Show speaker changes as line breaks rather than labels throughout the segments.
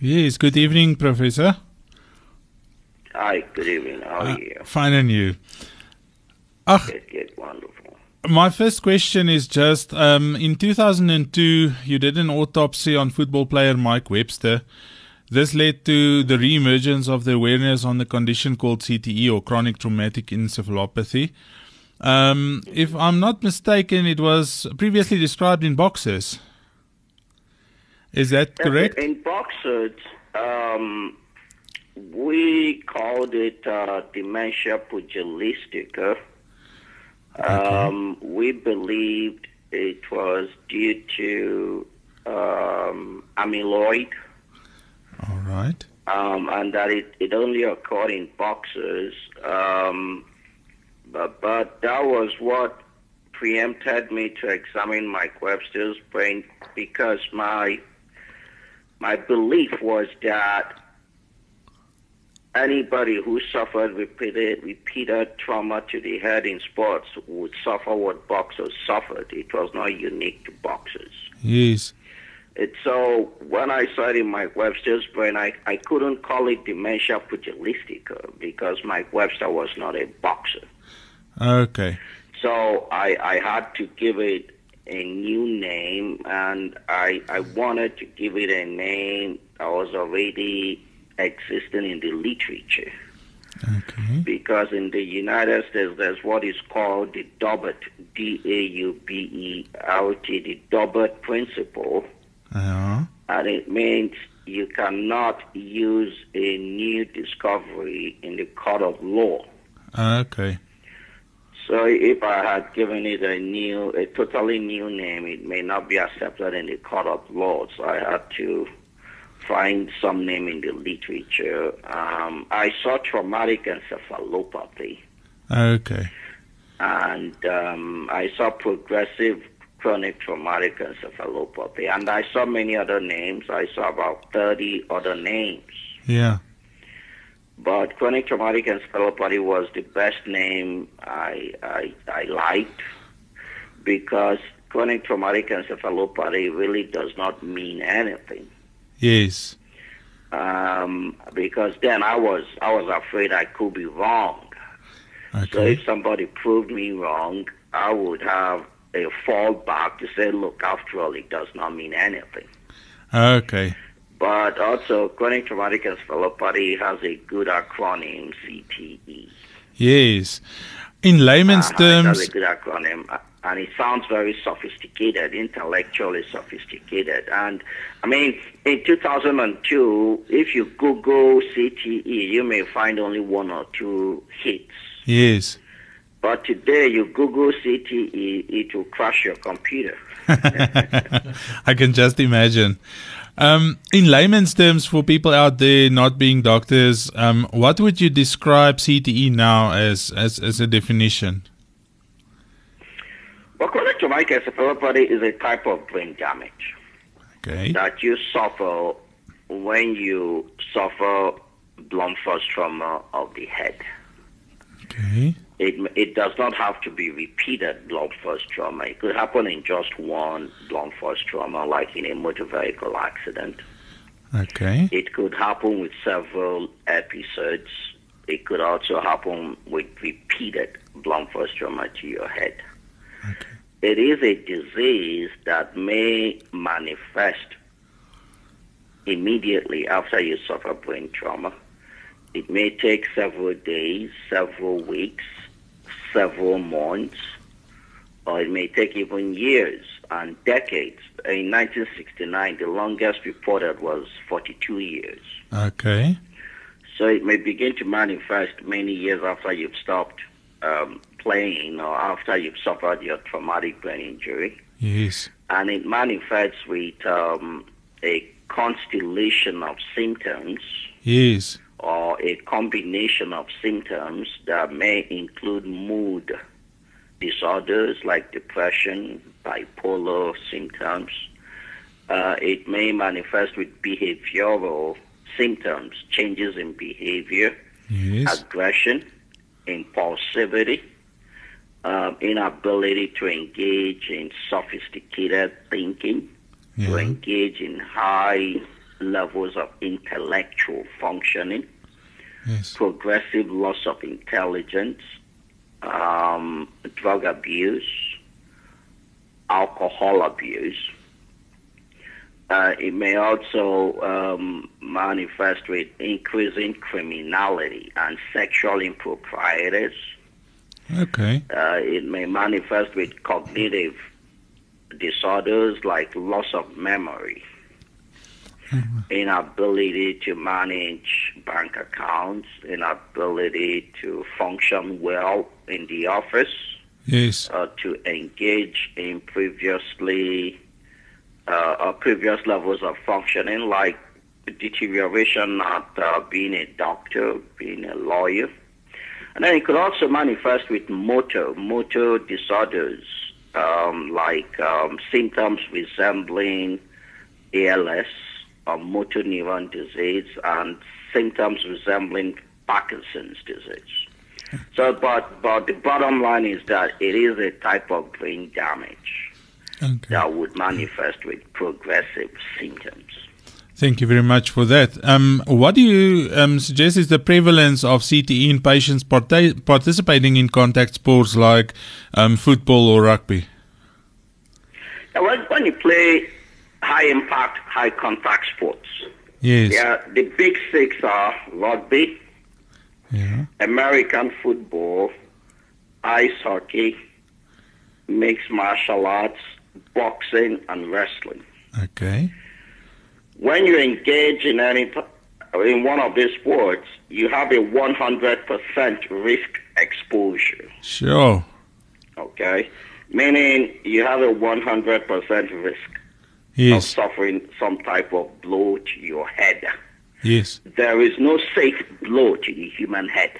Yes, good evening, Professor. Uh,
Hi, good evening. How are you?
Fine, and you? Ach,
Good, good, wonderful.
my first question is just um, in 2002, you did an autopsy on football player Mike Webster. This led to the reemergence of the awareness on the condition called CTE or chronic traumatic encephalopathy. Um, if I'm not mistaken, it was previously described in boxers. Is that correct?
In boxers, um, we called it uh, dementia pugilistica. Um, We believed it was due to um, amyloid
All right.
um, and that it, it only occurred in boxers. Um, but, but that was what preempted me to examine Mike Webster's brain because my my belief was that anybody who suffered repeated repeated trauma to the head in sports would suffer what boxers suffered. It was not unique to boxers.
Yes.
It's so when I saw it in Mike Webster's brain, I, I couldn't call it dementia pugilistica because Mike Webster was not a boxer.
Okay.
So I, I had to give it a new name, and I, I wanted to give it a name that was already existing in the literature
Okay.
because in the United States there's what is called the Daubert, D-A-U-B-E-R-T, E the Daubert principle.
Yeah.
and it means you cannot use a new discovery in the court of law.
Okay.
So if I had given it a new, a totally new name, it may not be accepted in the court of law. So I had to find some name in the literature. Um, I saw traumatic encephalopathy,
Okay.
and um, I saw progressive chronic traumatic encephalopathy, and I saw many other names. I saw about 30 other names.
Yeah.
But chronic traumatic encephalopathy was the best name I, I, I liked because chronic traumatic encephalopathy really does not mean anything.
Yes.
Um, because then I was I was afraid I could be wrong. So
Okay.
if somebody proved me wrong, I would have a fallback to say, look, after all, it does not mean anything.
Okay.
But also, chronic traumatic encephalopathy has a good acronym, E. CTE.
Yes. In layman's
Uh-huh,
terms,
That's a good acronym, uh, and it sounds very sophisticated, intellectually sophisticated. And I mean, in 2002, if you Google CTE, you may find only one or two hits.
yes.
But today, you Google CTE, it will crash your computer.
I can just imagine. Um, in layman's terms, for people out there not being doctors, um, what would you describe CTE now as, as, as a definition?
But chronic traumatic encephalopathy is a type of brain damage.
Okay.
that you suffer when you suffer blunt force trauma of the head.
Okay.
It, it does not have to be repeated blunt force trauma. It could happen in just one blunt force trauma, like in a motor vehicle accident.
Okay.
It could happen with several episodes. It could also happen with repeated blunt force trauma to your head. It is a disease that may manifest immediately after you suffer brain trauma. It may take several days, several weeks, several months, or it may take even years and decades. In 1969, the longest reported was 42 years.
Okay.
So it may begin to manifest many years after you've stopped um, playing or after you've suffered your traumatic brain injury.
Yes.
And it manifests with um, a constellation of symptoms
Yes.
or a combination of symptoms that may include mood disorders like depression, bipolar symptoms. Uh, it may manifest with behavioral symptoms, changes in behavior,
Yes.
aggression, impulsivity, um, inability to engage in sophisticated thinking, to
Yeah.
engage in high levels of intellectual functioning,
Yes.
progressive loss of intelligence, um, drug abuse, alcohol abuse. Uh, it may also um, manifest with increasing criminality and sexual improprieties.
Okay.
Uh, it may manifest with cognitive disorders like loss of memory, inability to manage bank accounts, inability to function well in the office
Yes.
uh, to engage in previously uh, or previous levels of functioning, like deterioration at uh, being a doctor, being a lawyer, and then it could also manifest with motor motor disorders, um, like um, symptoms resembling ALS or motor neuron disease, and symptoms resembling Parkinson's disease. So, but but the bottom line is that it is a type of brain damage
Okay.
that would manifest with progressive symptoms.
Thank you very much for that. Um, what do you um, suggest is the prevalence of CTE in patients parta- participating in contact sports like um, football or rugby?
Now, when, when you play high impact, high contact sports,
Yes.
yeah, the big six are rugby,
Yeah.
American football, ice hockey, mixed martial arts, boxing, and wrestling.
Okay.
when you engage in any in one of these sports, you have a 100% risk exposure.
Sure.
Okay, meaning you have a 100% risk of
Yes.
suffering some type of blow to your head.
Yes.
There is no safe blow to the human head.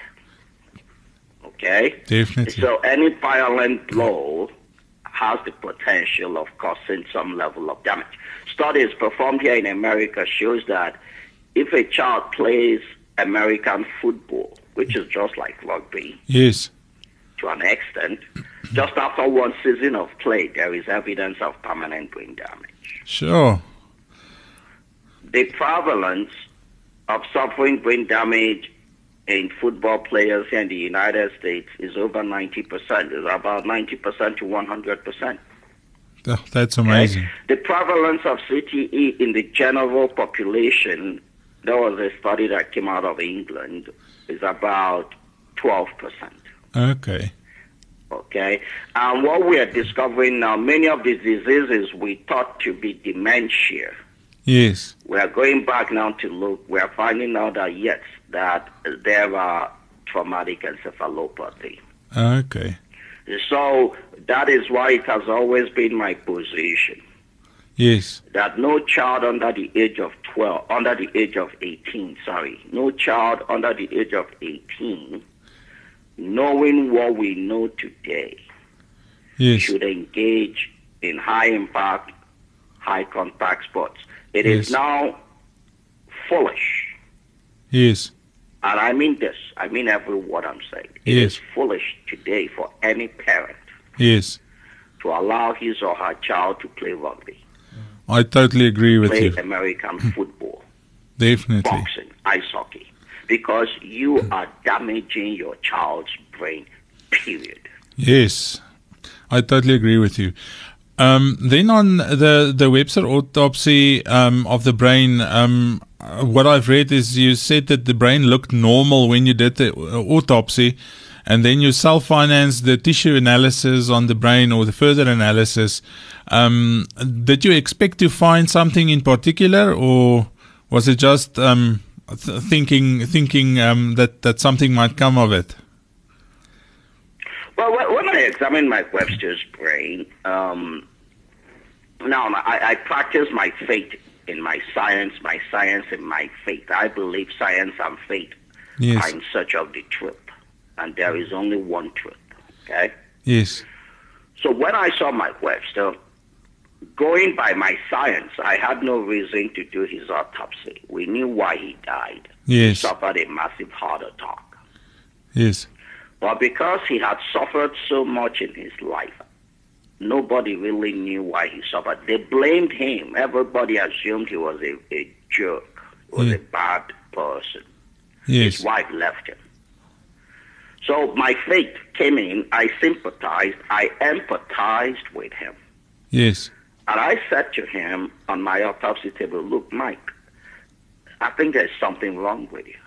Okay,
Definitely.
so any violent blow has the potential of causing some level of damage. Studies performed here in America shows that if a child plays American football, which is just like rugby
Yes.
to an extent, just after one season of play, there is evidence of permanent brain damage.
Sure.
The prevalence of suffering brain damage in football players here in the United States is over 90%, is about 90% to 100%.
Th- That's
Okay?
amazing.
The prevalence of CTE in the general population, there was a study that came out of England, is about 12%.
Okay.
Okay? And what we are discovering now, many of these diseases we thought to be dementia.
Yes.
We are going back now to look, we are finding out that yes, that there are traumatic encephalopathy.
Okay.
So that is why it has always been my position.
Yes.
that no child under the age of 12, under the age of 18, sorry, no child under the age of 18, knowing what we know today,
Yes.
should engage in high impact, high contact sports. It
Yes.
is now foolish,
Yes.
and I mean this, I mean every word I'm saying. It is
Yes.
foolish today for any parent
Yes.
to allow his or her child to play rugby,
I totally agree with
play
you.
American
Hmm.
football.
Definitely.
boxing, ice hockey, because you are damaging your child's brain. Period.
Yes, I totally agree with you. Um, then on the the Webster autopsy um, of the brain, um, uh, what I've read is you said that the brain looked normal when you did the uh, autopsy, and then you self financed the tissue analysis on the brain or the further analysis. Um, did you expect to find something in particular, or was it just um, th- thinking thinking um, that that something might come of it?
Well, wh- when I examined my Webster's brain, um, now I, I practice my faith in my science, my science in my faith. I believe science and faith
Yes,
are in search of the truth, and there is only one truth. Okay.
yes,
So when I saw Mike Webster, going by my science, I had no reason to do his autopsy. We knew why he died.
yes,
suffered a massive heart attack.
yes.
But because he had suffered so much in his life, nobody really knew why he suffered. They blamed him. Everybody assumed he was a, a jerk, was
Yeah.
a bad person.
Yes.
His wife left him. So my faith came in. I sympathized. I empathized with him.
Yes.
And I said to him on my autopsy table, Look, Mike, I think there's something wrong with you.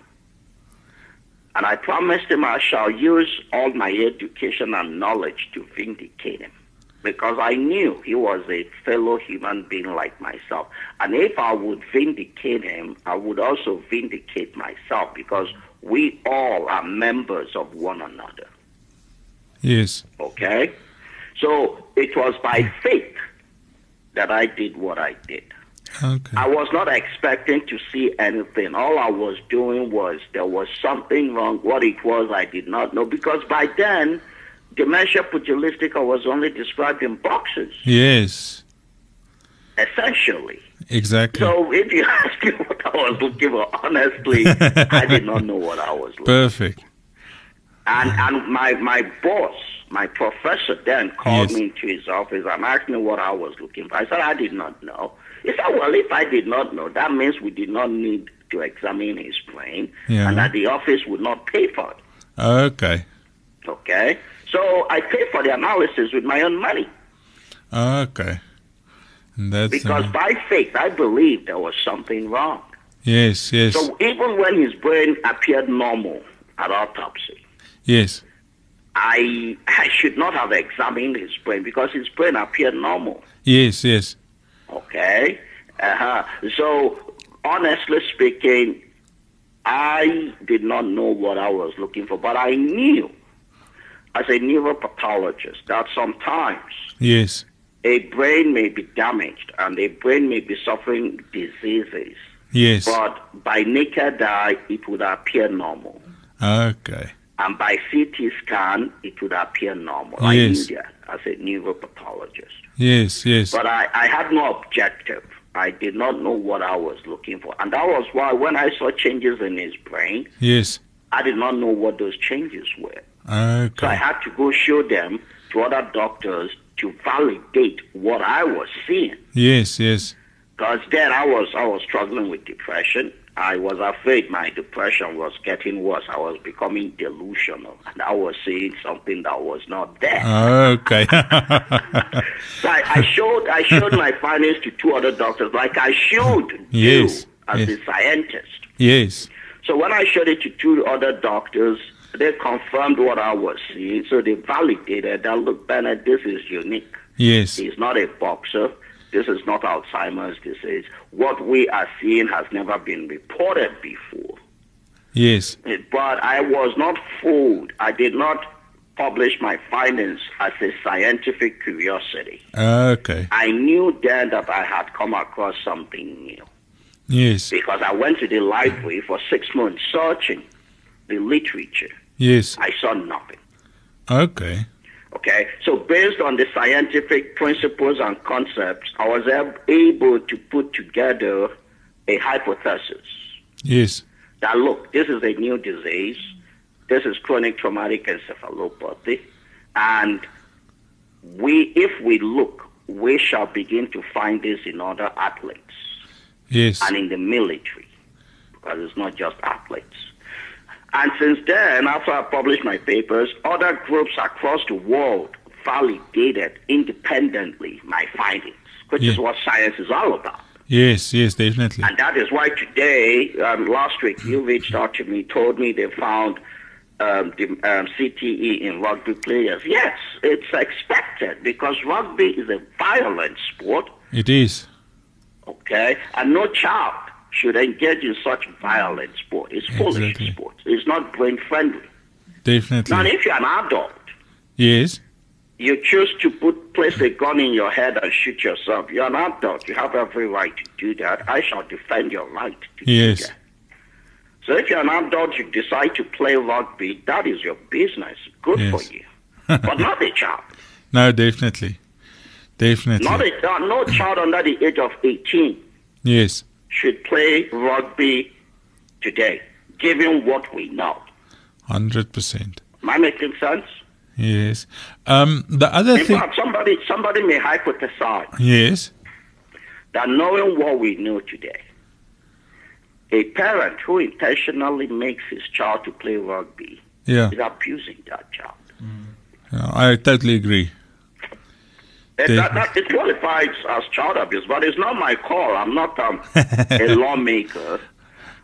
And I promised him I shall use all my education and knowledge to vindicate him. Because I knew he was a fellow human being like myself. And if I would vindicate him, I would also vindicate myself because we all are members of one another.
Yes.
Okay? So it was by faith that I did what I did.
Okay.
I was not expecting to see anything. All I was doing was there was something wrong. What it was, I did not know. Because by then, dementia pugilistica was only described in boxes,
Yes.
essentially.
Exactly.
So if you ask me what I was looking for, honestly, I did not know what I was looking for.
Perfect.
And and my my boss, my professor then called
Yes.
me into his office and asked me what I was looking for. I said I did not know. He said, Well, if I did not know, that means we did not need to examine his brain
Yeah.
and that the office would not pay for it.
Okay.
Okay? So I paid for the analysis with my own money
Okay. And that's
because
uh,
by faith I believed there was something wrong.
yes, yes,
So even when his brain appeared normal at autopsy,
yes,
I I should not have examined his brain because his brain appeared normal.
yes, yes,
Okay. Uh-huh. So, honestly speaking, I did not know what I was looking for, but I knew, as a neuropathologist, that sometimes
yes,
a brain may be damaged and a brain may be suffering diseases,
yes.
but by naked eye, it would appear normal.
Okay.
And by CT scan, it would appear normal. I
Yes.
knew that as a neuropathologist.
Yes, yes,
But I, I had no objective. I did not know what I was looking for. And that was why when I saw changes in his brain,
yes.
I did not know what those changes were. So I
Okay.
had to go show them to other doctors to validate what I was seeing.
Yes, yes,
Because then I was, I was struggling with depression. I was afraid my depression was getting worse. I was becoming delusional. And I was seeing something that was not there.
okay.
So I, I showed I showed my findings to two other doctors, like I should
Yes,
do
yes.
as a scientist.
yes,
So when I showed it to two other doctors, they confirmed what I was seeing. So they validated that look, Bennett, this is unique.
yes,
He's not a boxer. This is not Alzheimer's disease. What we are seeing has never been reported before.
yes,
But I was not fooled. I did not publish my findings as a scientific curiosity.
okay.
I knew then that I had come across something new
Yes,
because I went to the library for six months searching the literature.
yes,
I saw nothing.
okay.
Okay, so based on the scientific principles and concepts, I was ab- able to put together a hypothesis
Yes,
that look, this is a new disease, this is chronic traumatic encephalopathy, and we, if we look, we shall begin to find this in other athletes.
yes,
and in the military because it's not just athletes. And since then, after I published my papers, other groups across the world validated independently my findings, which is
Yeah.
what science is all about.
yes, yes, definitely.
And that is why today, um, last week, you reached out to me, told me they found um, the, um, CTE in rugby players. Yes, it's expected because rugby is a violent sport.
It is.
Okay? And no child should engage in such violent sport. It's foolish
Exactly.
sport. It's not brain friendly. Now,
Definitely.
if you're an adult,
Yes,
you choose to put place a gun in your head and shoot yourself. You're an adult. You have every right to do that. I shall defend your right to do
yes,
that. So if you're an adult, you decide to play rugby, that is your business. Good
Yes.
for you. But not a child.
no, definitely.
Not
Definitely.
a, uh, no child under the age of 18
Yes,
should play rugby today, given what we know.
100%.
Am I making sense?
Yes. Um, the other
In
thing.
fact, somebody, somebody may hypothesize
Yes,
that knowing what we know today, a parent who intentionally makes his child to play rugby
Yeah.
is abusing that child.
yeah I totally agree.
And that,
They-
that, it qualifies as child abuse, but it's not my call. I'm not um, a lawmaker.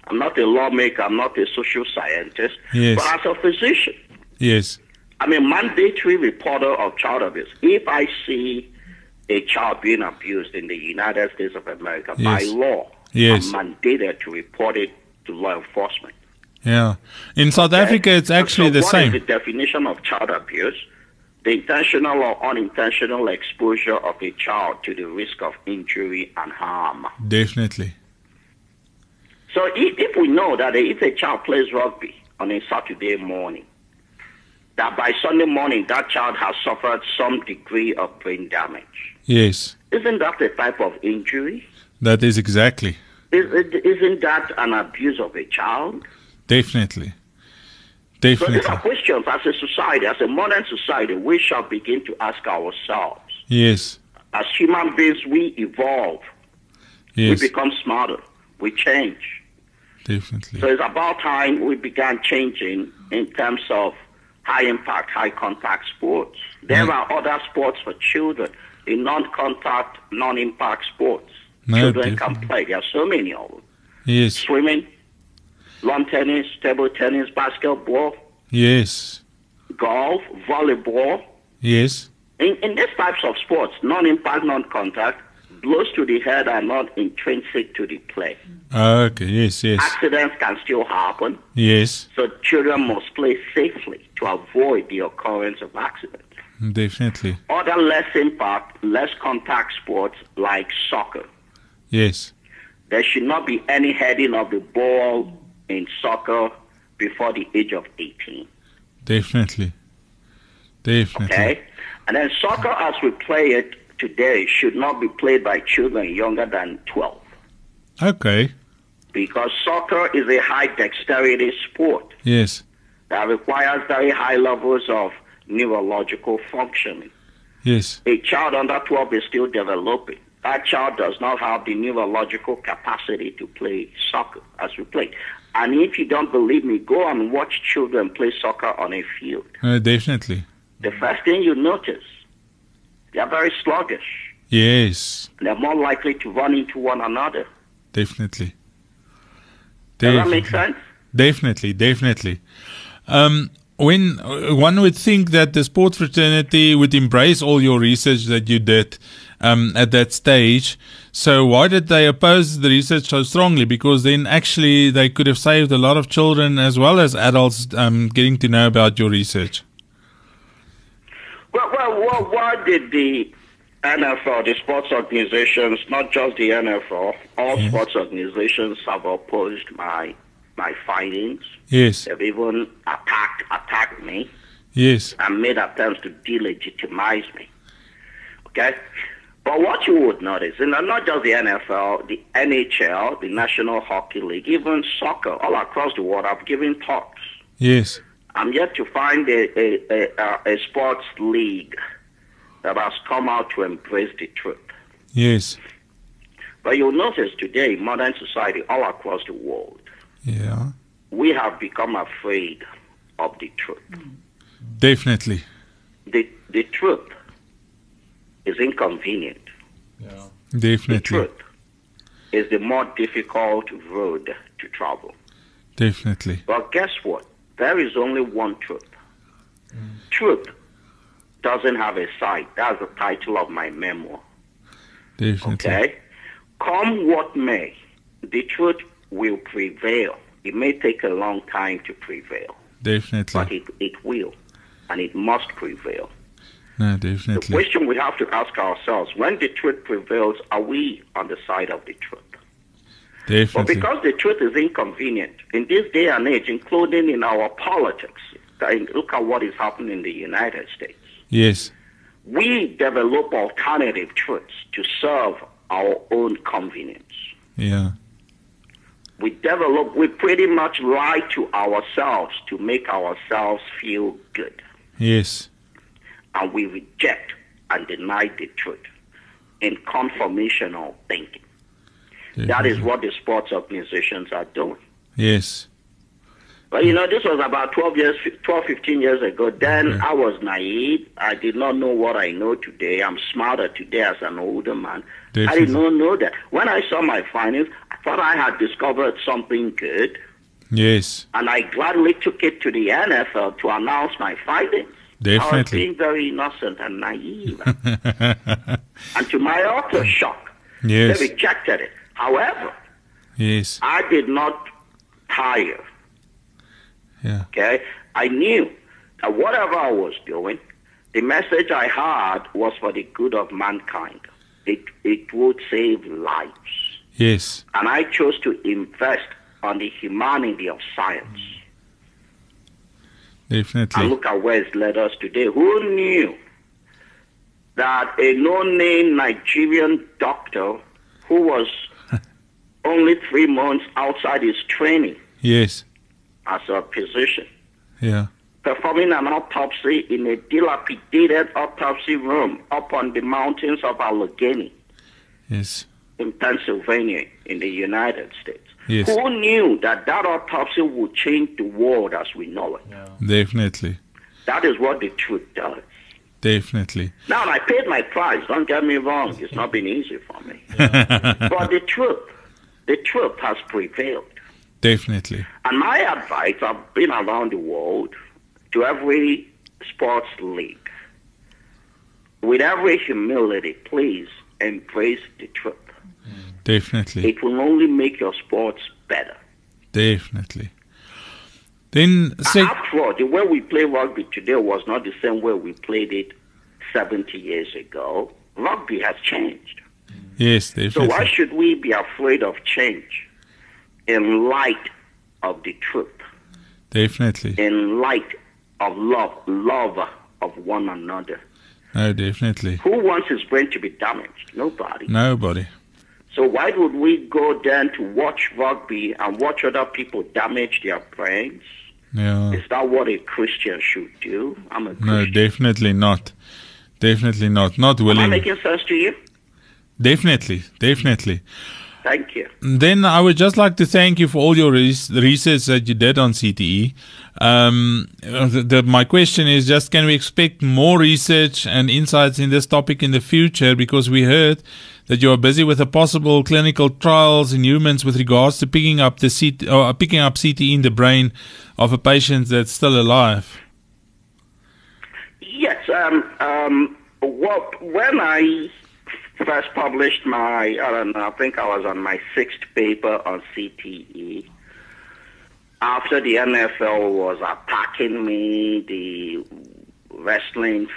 I'm not a lawmaker. I'm not a social scientist.
Yes.
But as a physician,
Yes.
I'm a mandatory reporter of child abuse. If I see a child being abused in the United States of America by
Yes.
law,
Yes.
I'm mandated to report it to law enforcement.
Yeah. In South Africa, it's
And
actually
so
the
what
same.
Is the definition of child abuse: the intentional or unintentional exposure of a child to the risk of injury and harm.
Definitely.
So, if, if we know that if a child plays rugby on a Saturday morning, that by Sunday morning that child has suffered some degree of brain damage,
Yes.
isn't that a type of injury?
That is exactly.
Is, isn't that an abuse of a child?
Definitely.
So these
Definitely.
are questions as a society, as a modern society, we shall begin to ask ourselves.
Yes.
As human beings, we evolve,
Yes.
we become smarter, we change. So
Definitely.
it's about time we began changing in terms of high impact, high contact sports. There
Mm.
are other sports for children, in non contact, non impact sports.
No,
children
definitely.
can play. There are so many of them
Yes.
swimming, lawn tennis, table tennis, basketball,
Yes.
golf, volleyball.
Yes.
In, in these types of sports, non impact, non contact, blows to the head are not intrinsic to the play.
Okay. Yes. Yes.
Accidents can still happen,
Yes.
so children must play safely to avoid the occurrence of accidents.
Definitely.
Other less impact, less contact sports like soccer.
Yes.
There should not be any heading of the ball in soccer before the age of 18.
Definitely. Definitely.
Okay? And then soccer, as we play it today, should not be played by children younger than 12.
Okay.
because soccer is a high dexterity sport
Yes.
that requires very high levels of neurological functioning.
Yes.
A child under 12 is still developing. That child does not have the neurological capacity to play soccer as we play. And if you don't believe me, go and watch children play soccer on a field.
Uh, definitely.
The first thing you notice, they are very sluggish.
Yes.
They're more likely to run into one another.
Definitely.
Does that make sense?
Definitely, definitely. Um, when uh, one would think that the sports fraternity would embrace all your research that you did um, at that stage, so why did they oppose the research so strongly? Because then actually they could have saved a lot of children as well as adults um, getting to know about your research.
Well, well, well, why did the NFL, the sports organizations, not just the NFL, all
Yes.
sports organizations have opposed my my findings.
Yes,
They've even attacked attacked me
yes,
and made attempts to delegitimize me. Okay? But what you would notice, and not just the NFL, the NHL, the National Hockey League, even soccer, all across the world, I've given talks.
yes,
I'm yet to find a, a, a, a, a sports league that has come out to embrace the truth.
yes,
But you'll notice today, in modern society, all across the world,
yeah,
we have become afraid of the truth.
definitely,
The, the truth is inconvenient. The
definitely,
truth is the more difficult road to travel.
definitely.
But guess what? There is only one truth. Truth doesn't have a side. That's the title of my memoir.
Definitely.
Okay? Come what may, the truth will prevail. It may take a long time to prevail, but
Definitely.
it, it will, and it must prevail.
No,
The
definitely.
question we have to ask ourselves when the truth prevails, are we on the side of the truth? But
Definitely.
because the truth is inconvenient in this day and age, including in our politics, I mean, look at what is happening in the United States.
Yes,
We develop alternative truths to serve our own convenience.
yeah.
we develop, we pretty much lie to ourselves to make ourselves feel good.
Yes,
And we reject and deny the truth in conformational thinking. That
Mm-hmm.
is what the sports organizations are doing.
Yes.
But you know, this was about 12 years, 12, 15 years ago. Then
Mm-hmm.
I was naive. I did not know what I know today. I'm smarter today as an older man. I did
Definitely.
not know that. When I saw my findings, I thought I had discovered something good,
Yes.
and I gladly took it to the NFL to announce my findings. I was
Definitely.
being very innocent and naive. and to my utter shock,
yes.
they rejected it. However,
Yes.
I did not tire.
Yeah.
Okay, I knew that whatever I was doing, the message I had was for the good of mankind. It it would save lives,
Yes.
and I chose to invest on the humanity of science. And
Definitely.
look at where it's led us today. Who knew that a no-name Nigerian doctor who was only three months outside his training
Yes.
as a physician
Yeah.
performing an autopsy in a dilapidated autopsy room up on the mountains of Allegheny
Yes.
in Pennsylvania in the United States.
Yes.
Who knew that that autopsy would change the world as we know it?
Definitely.
That is what the truth does.
Definitely.
Now, and I paid my price. Don't get me wrong. It's not been easy for me. but the truth, the truth has prevailed.
Definitely.
And my advice, I've been around the world to every sports league. With every humility, please embrace the truth.
Definitely.
It will only make your sports better.
Definitely. Then sec-
After all, the way we play rugby today was not the same way we played it 70 years ago. Rugby has changed.
yes,
So why
definitely.
should we be afraid of change in light of the truth?
Definitely.
in light of love, love of one another.
No, definitely.
Who wants his brain to be damaged? Nobody.
Nobody.
So why would we go then to watch rugby and watch other people damage their brains?
Yeah.
Is that what a Christian should do? I'm a
No,
Christian.
definitely not. Definitely not. Not
Am I
willing.
making sense to you?
Definitely. Definitely.
Thank you.
Then I would just like to thank you for all your res- research that you did on CTE. Um, uh, the, the, my question is just can we expect more research and insights in this topic in the future? Because we heard that you are busy with the possible clinical trials in humans with regards to picking up the CT, or picking up CTE in the brain of a patient that's still alive.
Yes. Um, um, what, when I first published my, I don't know, I think I was on my sixth paper on CTE. After the NFL was attacking me, the wrestling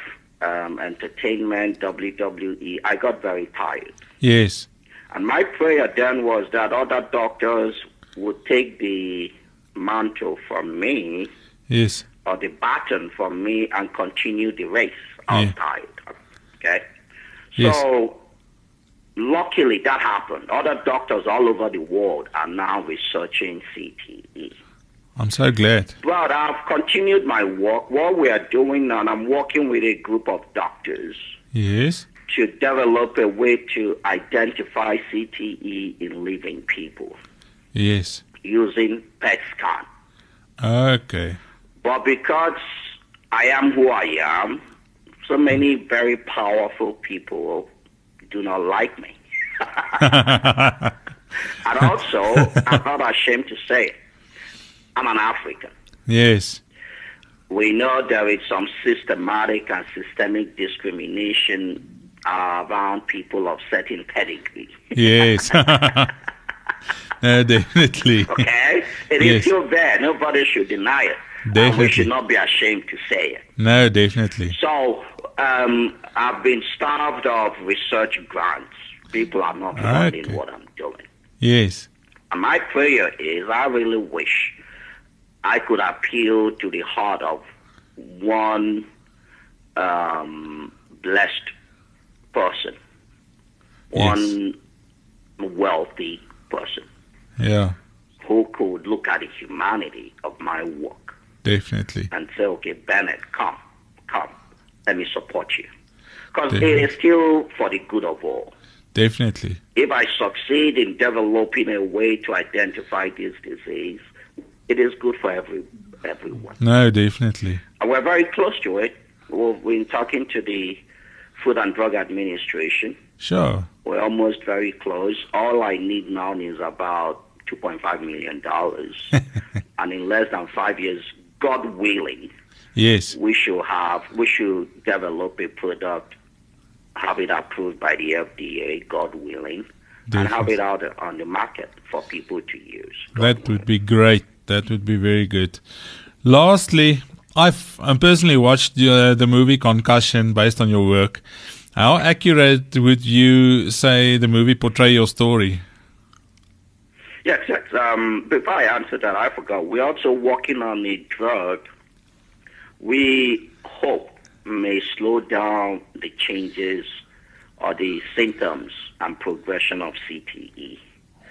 um, entertainment, WWE, I got very tired.
Yes.
And my prayer then was that other doctors would take the mantle from me
Yes.
or the baton for me and continue the race outside. Okay? So, luckily that happened. Other doctors all over the world are now researching CTE.
I'm so glad.
But I've continued my work. What we are doing now, and I'm working with a group of doctors
Yes.
to develop a way to identify CTE in living people
Yes.
using PET scan.
Okay.
But because I am who I am, so many very powerful people do not like me. and also, I'm not ashamed to say, it, I'm an African.
Yes.
We know there is some systematic and systemic discrimination uh, around people of certain pedigree.
Yes. no, definitely.
Okay? It is
Yes.
still there. Nobody should deny it. And
Definitely.
we should not be ashamed to say it.
No, definitely.
So um, I've been starved of research grants. People are not funding
Ah, Okay.
what I'm doing.
Yes.
And my prayer is I really wish I could appeal to the heart of one um, blessed person,
Yes.
one wealthy person
Yeah,
who could look at the humanity of my work
definitely.
and say, okay, Bennett, come, come, let me support you. Because it
Definitely.
is still for the good of all.
Definitely.
If I succeed in developing a way to identify this disease, it is good for every, everyone.
No, definitely.
And we're very close to it. We've been talking to the Food and Drug Administration.
Sure.
We're almost very close. All I need now is about $2.5 million. and in less than five years, God willing,
Yes.
we should have, we should develop a product, have it approved by the FDA, God willing, and have it out on the market for people to use.
That
God willing.
would be great. That would be very good. Lastly, I've um, personally watched uh, the movie Concussion based on your work. How accurate would you say the movie portray your story?
Yes, yes. Um, before I answer that, I forgot. We're also working on a drug we hope may slow down the changes or the symptoms and progression of E. CTE.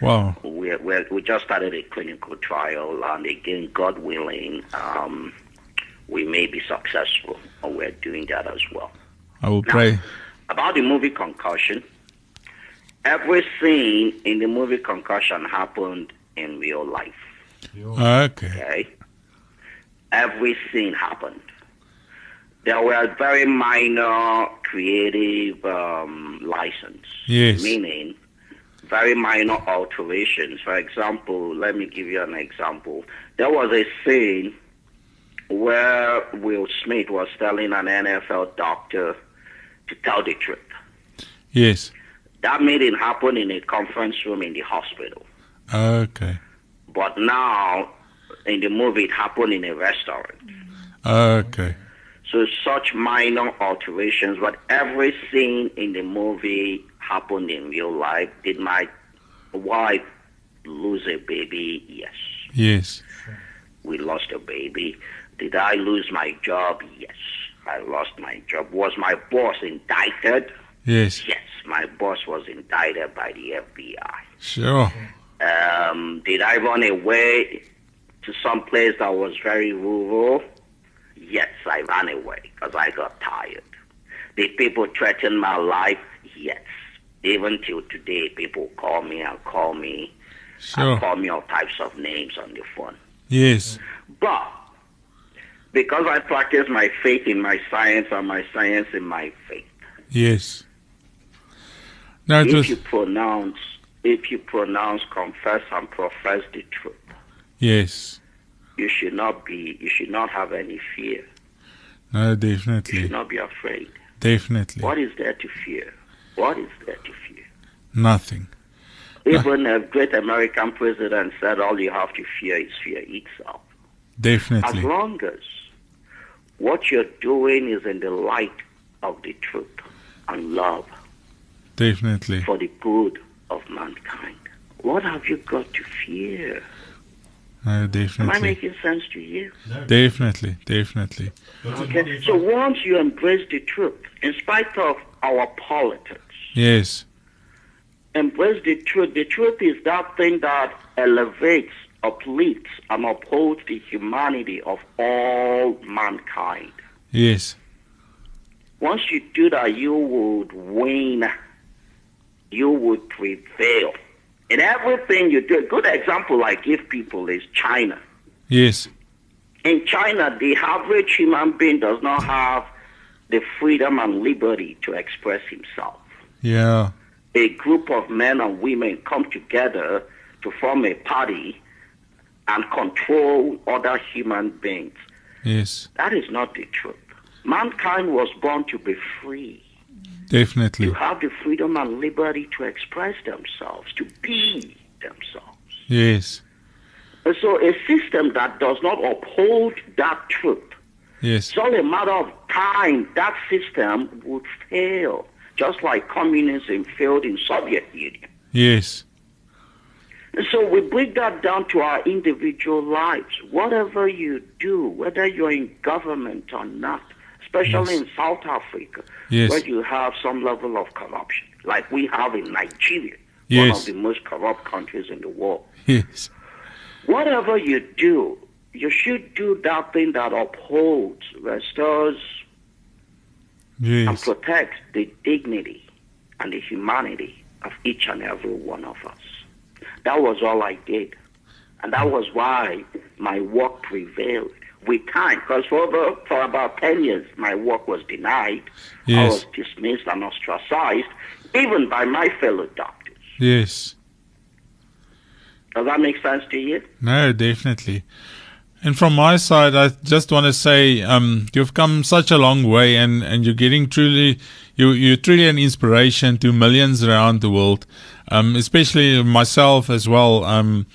Wow.
We're, we're, we just started a clinical trial, and again, God willing, um, we may be successful, or we're doing that as well.
I will pray.
About the movie Concussion, every scene in the movie Concussion happened in real life.
Okay.
okay? Every scene happened. There were very minor creative um, license,
Yes.
meaning very minor alterations. For example, let me give you an example. There was a scene where Will Smith was telling an NFL doctor to tell the truth.
Yes.
That meeting happened in a conference room in the hospital.
Okay.
But now, in the movie, it happened in a restaurant.
Okay.
So such minor alterations, but every scene in the movie happened in real life. Did my wife lose a baby? Yes.
Yes.
We lost a baby. Did I lose my job? Yes. I lost my job. Was my boss indicted?
Yes.
Yes. My boss was indicted by the FBI.
Sure.
Um, did I run away to some place that was very rural? Yes, I ran away because I got tired. Did people threaten my life? Yes. Even till today, people call me and call me and
Sure.
call me all types of names on the phone.
Yes.
But because I practice my faith in my science and my science in my faith,
Yes. No, it
if
was.
you pronounce, if you pronounce, confess and profess the truth,
Yes.
you should not be you should not have any fear
No,
you should
definitely.
not be afraid
Definitely.
what is there to fear what is there to fear
Nothing.
even a great american president said all you have to fear is fear itself as
Definitely.
long as what you're doing is in the light of the truth and love
Definitely.
for the good of mankind what have you got to fear?
No,
Am I
definitely.
making sense to you?
Definitely, definitely.
Okay. So once you embrace the truth, in spite of our politics,
Yes,
embrace the truth. The truth is that thing that elevates, uplifts, and upholds the humanity of all mankind.
yes,
Once you do that, you would win. You would prevail. In everything you do, a good example I give people is China.
yes,
In China, the average human being does not have the freedom and liberty to express himself.
yeah,
a group of men and women come together to form a party and control other human beings.
yes,
That is not the truth. Mankind was born to be free, to
definitely.
have the freedom and liberty to express themselves, to be themselves.
Yes,
And so, a system that does not uphold that truth,
yes,
it's only a matter of time that system would fail, just like communism failed in Soviet Union.
yes,
So we break that down to our individual lives. Whatever you do, whether you're in government or not, especially
Yes.
in South Africa,
Yes.
where you have some level of corruption, like we have in Nigeria, one
Yes.
of the most corrupt countries in the world.
yes,
Whatever you do, you should do that thing that upholds, restores, and
yes,
protects the dignity and the humanity of each and every one of us. That was all I did. And that was why my work prevailed with time. Because for, over, for about 10 years, my work was denied.
Yes.
I was dismissed and ostracized, even by my fellow doctors.
Yes.
Does that make sense to you?
No, definitely. And from my side, I just want to say um, you've come such a long way, and, and you're getting truly you you're truly an inspiration to millions around the world, um, especially myself as well. Um,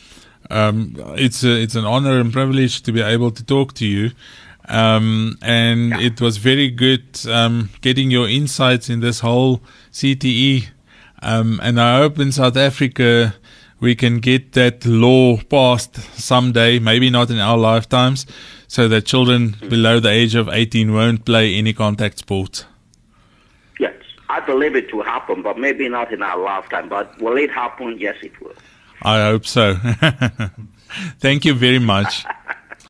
um, it's a, it's an honor and privilege to be able to talk to you, um, and it was very good um, getting your insights in this whole CTE, um, and I hope in South Africa we can get that law passed someday, maybe not in our lifetimes, so that children below the age of 18 won't play any contact sports.
Yes. I believe it will happen, but maybe not in our lifetime. But will it happen? Yes, it will.
I hope so. Thank you very much.